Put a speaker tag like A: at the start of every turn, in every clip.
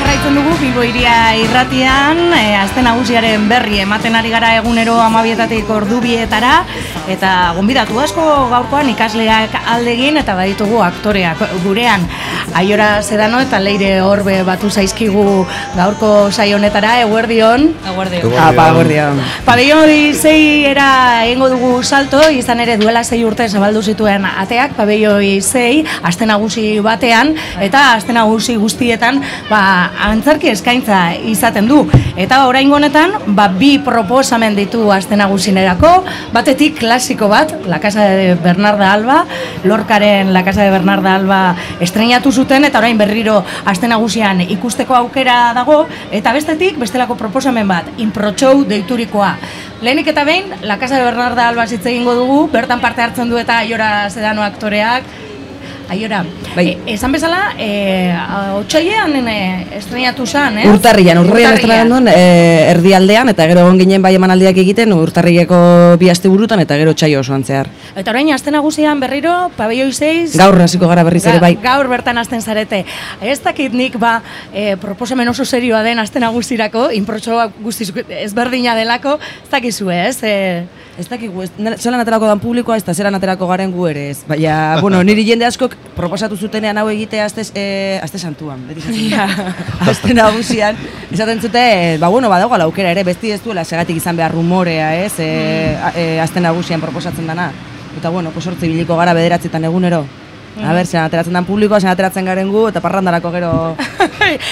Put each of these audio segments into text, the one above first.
A: jarraitzen dugu Bilbo iria irratian, e, azte nagusiaren berri ematen ari gara egunero amabietatik ordubietara, eta gonbidatu asko gaurkoan ikasleak aldegin eta baditugu aktoreak gurean. Aiora Zedano eta Leire Horbe batu zaizkigu gaurko saionetara, eguerdion.
B: Eguerdion.
C: Ah, pa, guardian.
A: Pabelloi era egingo dugu salto, izan ere duela sei urte zabaldu zituen ateak, pabelloi zei, aste nagusi batean, eta aste nagusi guztietan, ba, antzerki eskaintza izaten du. Eta oraingo honetan, ba, bi proposamen ditu aste nagusinerako, batetik klasiko bat, La Casa de Bernarda Alba, Lorkaren La Casa de Bernarda Alba estrenatu zuten, eta orain berriro aste nagusian ikusteko aukera dago, eta bestetik, bestelako proposamen bat, inprotxou deiturikoa. Lehenik eta behin, La Casa de Bernarda Alba hitz egingo dugu, bertan parte hartzen du eta Aiora Zedano aktoreak, Aiora,
C: Bai.
A: e, esan bezala, e, otxailean e, estrenatu zen, eh?
C: Urtarrian, urtarrian estrada nuen e, erdialdean, eta gero egon ginen bai emanaldiak egiten urtarrileko bi asteburutan eta gero txai osoan zehar.
A: Eta orain, aste nagusian berriro, pabelloi 6...
C: Gaur hasiko gara berriz ere bai.
A: Gaur bertan hasten zarete. Ez dakit nik ba, e, proposamen oso serioa den aste nagusirako, inprotxoa guztiz ezberdina delako, ez dakizu ez? E,
C: Ez dakigu, ez, nela- zelan aterako dan publikoa, ez da zelan aterako garen gu ere ez. Baina, bueno, niri jende askok proposatu zutenean hau egitea azte, e, azte santuan, beti santuan. azte nagusian, esaten zute, eh, ba, bueno, badago aukera ere, besti ez duela segatik izan behar rumorea, ez, e, a, e, azte nagusian proposatzen dana. Eta, bueno, pues hortzi biliko gara bederatzetan egunero. A ber, zelan ateratzen dan publikoa, zelan ateratzen garen gu, eta parrandarako gero...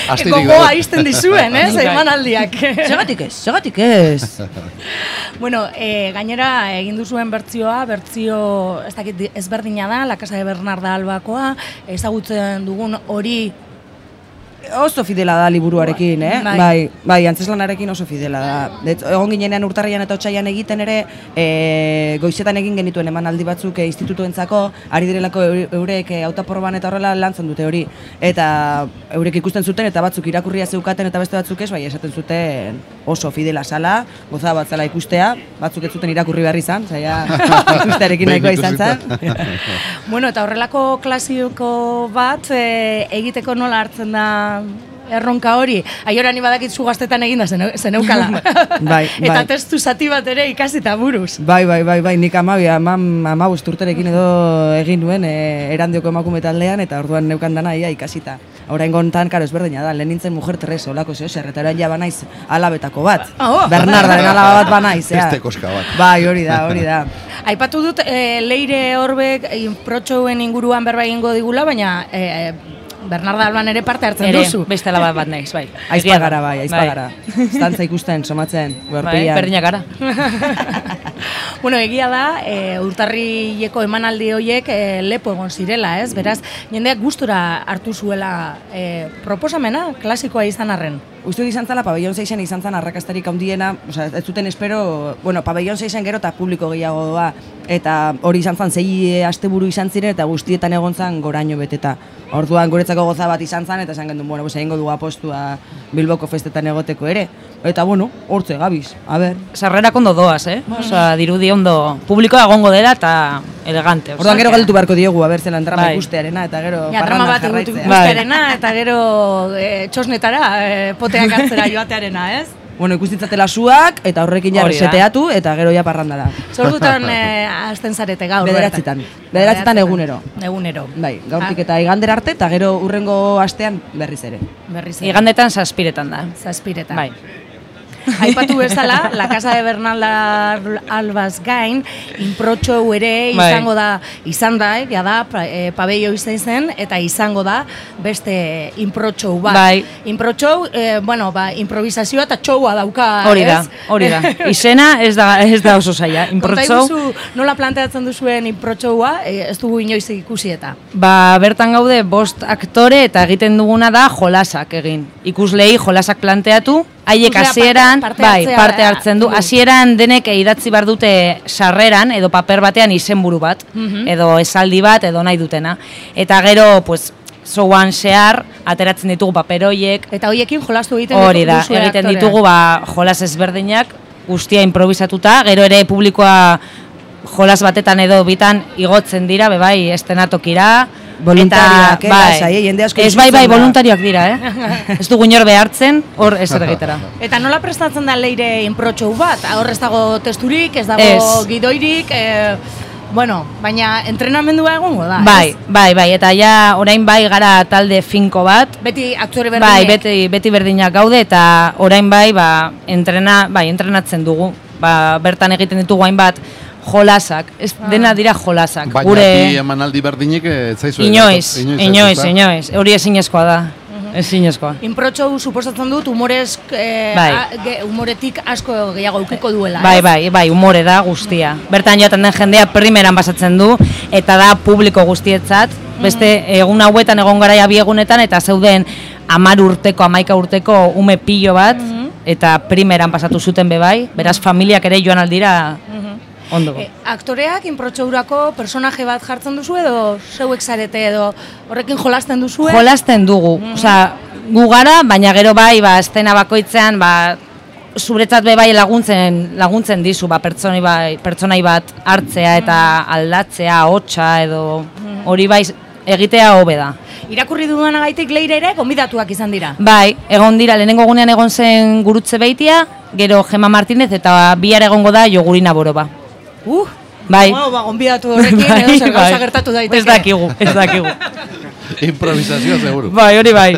B: Astirik
A: gogoa
B: gabe.
A: izten dizuen, ez?
C: Bai.
A: Emanaldiak.
C: Segatik ez, segatik ez!
A: bueno, e, gainera egin duzuen bertzioa, bertzio ez dakit di- ezberdina da, La Casa de Bernarda Albakoa, ezagutzen dugun hori
C: Oso fidela da liburuarekin, eh?
A: Bai.
C: Bai, bai, antzeslanarekin oso fidela da. Ez, egon ginenean urtarrian eta otsaian egiten ere, e, goizetan egin genituen emanaldi batzuk e, institutuentzako, ari direlako eure- eurek e, hautaproban eta horrela lantzen dute hori. Eta eurek ikusten zuten eta batzuk irakurria zeukaten eta beste batzuk ez, bai esaten zuten oso fidela sala, goza bat zala ikustea, batzuk ez zuten irakurri behar izan, zaila ikustearekin nahikoa izan zen.
A: Bueno, eta horrelako klasiko bat e, egiteko nola hartzen da erronka hori. Aiora ni badakit zu gaztetan eginda zene- zeneukala.
C: Bai,
A: Eta
C: bai.
A: testu zati bat ere ikasita buruz.
C: Bai, bai, bai, bai, nik amabi, amam, amabost urterekin edo egin nuen e, erandioko emakume taldean, eta orduan neukan dana ia ikasita. Orain gontan, karo, ezberdina da, lehen nintzen mujer Teresa, olako zeo, eta orain ja banaiz alabetako bat.
A: Ah, oh.
C: Bernardaren alaba bat banaiz, ja.
B: Beste koska bat.
C: Bai, hori da, hori da.
A: Aipatu dut e, leire horbek protxoen inguruan berba egingo digula, baina e, Bernarda Alban ere parte hartzen
D: Ere,
A: duzu.
D: beste alaba bat naiz, bai.
C: Aizpa
D: Egia da.
C: gara, bai, aizpa gara. Zantza ikusten, somatzen,
D: Bai,
C: gorpian.
D: berdinak gara.
A: bueno, egia da, e, urtarrileko emanaldi horiek e, lepo egon zirela, ez? Beraz, jendeak gustura hartu zuela e, proposamena, klasikoa izan arren.
C: Uste dut izan zala, pabellon 6en izan zan arrakastarik handiena, osea, ez zuten espero, bueno, pabellon 6en gero eta publiko gehiago doa, eta hori izan zan, zei asteburu izan ziren, eta guztietan egon zan goraino beteta. Orduan guretzako goza bat izan zan, eta esan gendun, bueno, pues, egingo du apostua Bilboko festetan egoteko ere. Eta bueno, hortze gabiz, a ber.
D: Sarrerak ondo doaz, eh? Osa, dirudi ondo publikoa egongo dela eta elegante. osea,
C: Orduan gero ba-
D: que-
C: galdetu beharko diogu, a ber, zelan drama
D: Bai.
C: ikustearena, eta gero
A: Ja, drama
C: parrandan
A: bat egutu
C: jarraitzea.
A: guztiarena, eta gero e, txosnetara e, poteak hartzera joatearena, ez?
C: Bueno, ikustitzatela suak, eta horrekin jarri
D: Hori da.
C: seteatu, eta gero ja parranda da.
A: Zordutan e, azten zarete gaur.
C: Bederatzitan.
A: bertan.
C: Bederatzitan egunero.
A: Egunero.
C: Bai, gaurtik
A: Ah.
C: eta igander arte, eta gero urrengo astean berriz ere.
A: Berriz. ere.
D: Igandetan zazpiretan da.
A: Zazpiretan.
D: Bai.
A: Aipatu bezala, La Casa de Bernalda Albaz gain, inprotxo ere
D: Bai.
A: izango da, izan da, eh, ja da, pa- eh, pabello izan zen, eta izango da beste inprotxo bat.
D: Bai.
A: Inprotxo, eh, bueno, ba, improvisazioa eta txoua dauka,
D: Hori da,
A: ez?
D: hori da. Izena ez da, ez da oso zaila. Inprotxo,
A: Kontaiguzu nola planteatzen duzuen inprotxoa, eh, ez dugu inoiz ikusi eta.
D: ba, bertan gaude bost aktore eta egiten duguna da jolasak egin. Ikuslei jolasak planteatu, haiek
A: Ikuslea parte-
D: hasieran,
A: parte
D: bai,
A: hartzea
D: parte
A: da,
D: hartzen du.
A: du.
D: Hasieran denek idatzi bar dute sarreran edo paper batean izenburu bat,
A: Mhm.
D: edo esaldi bat edo nahi dutena. Eta gero, pues, Zouan zehar, ateratzen ditugu paperoiek,
A: Eta hoiekin jolastu egiten
D: Hori da,
A: duzue
D: egiten
A: aktoreak.
D: ditugu ba, jolas ezberdinak, guztia improvisatuta, gero ere publikoa jolas batetan edo bitan igotzen dira, bebai, bai, estenatokira,
C: Voluntarioak, eh,
D: bai.
C: lasai, eh, jende asko
D: Ez bai, bai,
C: isiltzen da.
D: voluntarioak dira, eh? ez dugu inor behartzen, hor ez egitera.
A: Eta nola prestatzen da leire inprotxou bat? Hor ez dago testurik, ez dago
D: Ez.
A: gidoirik, eh, bueno, baina entrenamendua egongo da,
D: Bai,
A: ez?
D: bai, bai, eta ja orain bai gara talde finko bat,
A: Beti aktore berdinek.
D: Bai, beti, beti berdinak gaude eta orain bai, ba, entrena, bai, entrenatzen dugu. Ba, bertan egiten ditugu hainbat jolasak. Ez dena dira jolasak.
B: Baina Gure...
D: Gure
B: bi emanaldi berdinik eh, ez zaizu.
D: inoiz,
B: ez,
D: inoiz,
B: ezta?
D: inoiz. Hori ezinezkoa da. Ezinezkoa.
A: Inprotxou suposatzen dut humorez, eh,
D: Bai.
A: a- ge- humoretik asko gehiago ukiko duela.
D: Bai,
A: ez?
D: bai, bai, umore da guztia. Bertan joaten den jendea primeran basatzen du eta da publiko guztietzat.
A: Mm.
D: Beste egun hauetan egon garaia bi egunetan eta zeuden amar urteko, amaika urteko ume pilo bat
A: Mm.
D: eta primeran pasatu zuten be bai, beraz familiak ere joan aldira ondo.
A: E, aktoreak inprotxourako personaje bat jartzen duzu edo zeuek zarete edo horrekin jolasten duzu?
D: Jolasten dugu,
A: Mm-hmm.
D: osea, gu gara, baina gero bai, ba, estena bakoitzean, ba, zuretzat be bai laguntzen laguntzen dizu ba pertsonai bai pertsonai bat hartzea eta
A: Mm-hmm.
D: aldatzea hotsa edo hori bai egitea hobe da.
A: Irakurri dudanagaitik leire ere gonbidatuak izan dira.
D: Bai, egon dira lehenengo gunean egon zen Gurutze Beitia, gero Gema Martinez eta bihar egongo da Jogurina Boroba.
A: Uh,
D: Bai.
A: Wow, ba, gonbidatu horrekin edo zer gauza
D: bai.
A: gertatu daiteke.
D: Ez dakigu, ez dakigu.
B: Improvisazioa seguru.
D: bai, hori bai.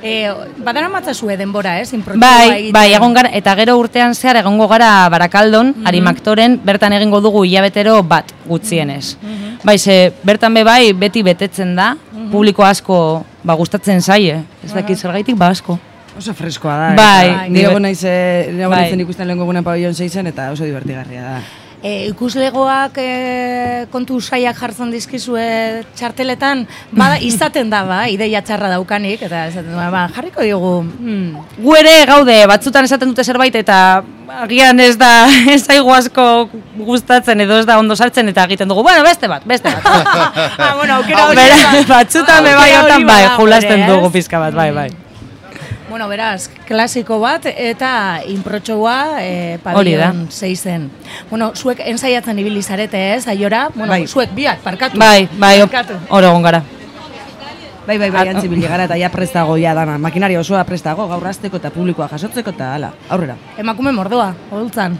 A: E, badara matzazue denbora, ez? Inprotxoa
D: Bai,
A: egiten.
D: bai, egon gara, eta gero urtean zehar egongo gara Barakaldon,
A: Mhm.
D: Arimaktoren, bertan egingo dugu hilabetero bat gutxienez.
A: Mhm,
D: Bai, ze, bertan be bai, beti betetzen da, publiko asko, ba, gustatzen zaie, ez
A: Bai,
D: dakit zergaitik, ba, asko.
C: Oso freskoa da.
D: Bai,
C: eta
D: ni
C: Ni egon
D: bet-
C: naiz, eh, ni egon
D: Bai.
C: nintzen ikusten lehenko gunean pabillon seizen, eta oso divertigarria da.
A: E, ikuslegoak e, kontu saiak jartzen dizkizue txarteletan, bada izaten da, ba, ideia txarra daukanik, eta esaten du, ba, jarriko diogu, hmm,
D: Gu ere gaude, batzutan esaten dute zerbait, eta agian ez da, ez zaigu asko gustatzen, edo ez da ondo sartzen, eta egiten dugu, bueno, beste bat, beste bat.
A: ah, bueno, aukera hori
D: Bera,
A: bada.
D: batzutan be
A: Aukera
D: bai,
A: hori
D: hortan
A: bada
D: bai,
A: gure,
D: jolasten
A: ez?
D: dugu pizka bat, bai, bai.
A: Bueno, beraz, klasiko bat eta inprotxoa e,
D: Hori da.
A: pabillon zeizen. Bueno, zuek ensaiatzen ibili zarete ez, aiora, bueno,
C: Bai.
A: zuek biak, parkatu.
D: Bai, bai,
A: parkatu.
D: hor egon gara.
C: Bai, bai,
D: Ah,
C: bai,
D: oh.
C: antzi gara eta ja prestago ja dana. Makinaria osoa prestago, gaur asteko eta publikoa jasotzeko eta hala. Aurrera.
A: Emakume mordoa, holtzan.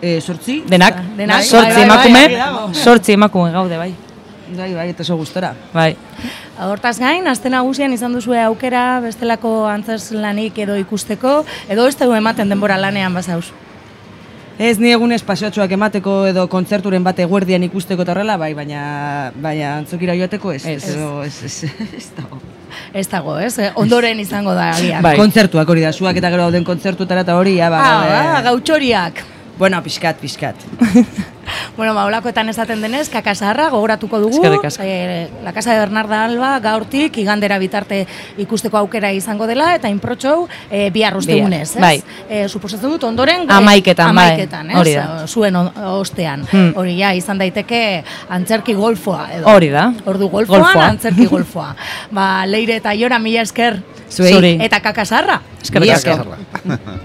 C: Eh, sortzi?
D: Denak,
A: Denak,
D: sortzi
A: bai, bai, bai,
D: emakume,
A: argi dago.
D: sortzi emakume gaude, bai.
C: Bai, bai, eta oso gustora.
D: Bai.
A: Ba, Hortaz gain, aste nagusian izan duzue aukera bestelako antzes lanik edo ikusteko, edo ez dugu ematen denbora lanean bazauz.
C: Ez ni egun espazioatxoak emateko edo kontzerturen bat eguerdian ikusteko eta horrela, bai, baina, baina antzokira joateko ez.
D: Ez.
C: edo ez, ez, ez, dago.
A: Ez dago, ez? Eh, Ondoren izango da agian.
D: Bai.
C: Kontzertuak hori da, zuak eta gero dauden kontzertutara eta hori, ja, ba,
A: Ah, ah,
C: gaude.
A: gautxoriak.
C: Bueno, pixkat, pixkat.
A: Bueno, ba, olakoetan esaten denez, kakasarra gogoratuko dugu.
D: Eskerrik asko.
A: Eh, La Casa de Bernarda Alba gaurtik igandera bitarte ikusteko aukera izango dela, eta inprotxou e, bihar ustegunez, ez?
D: Bihar, bai.
A: Eh, suposatzen dut ondoren... eh,
D: Hamaiketan, bai.
A: Hamaiketan, ez? Eh,
D: Hori da.
A: Zuen on- ostean.
D: Hmm.
A: Hori ja, izan daiteke antzerki golfoa, edo.
D: Hori da.
A: Ordu golfoan,
D: Golfoa.
A: antzerki golfoa. Ba, leire eta jora mila esker.
D: Zuei. Zuri.
A: Eta kakasarra.
D: Eskerrik
B: Mila
D: asko.
B: esker.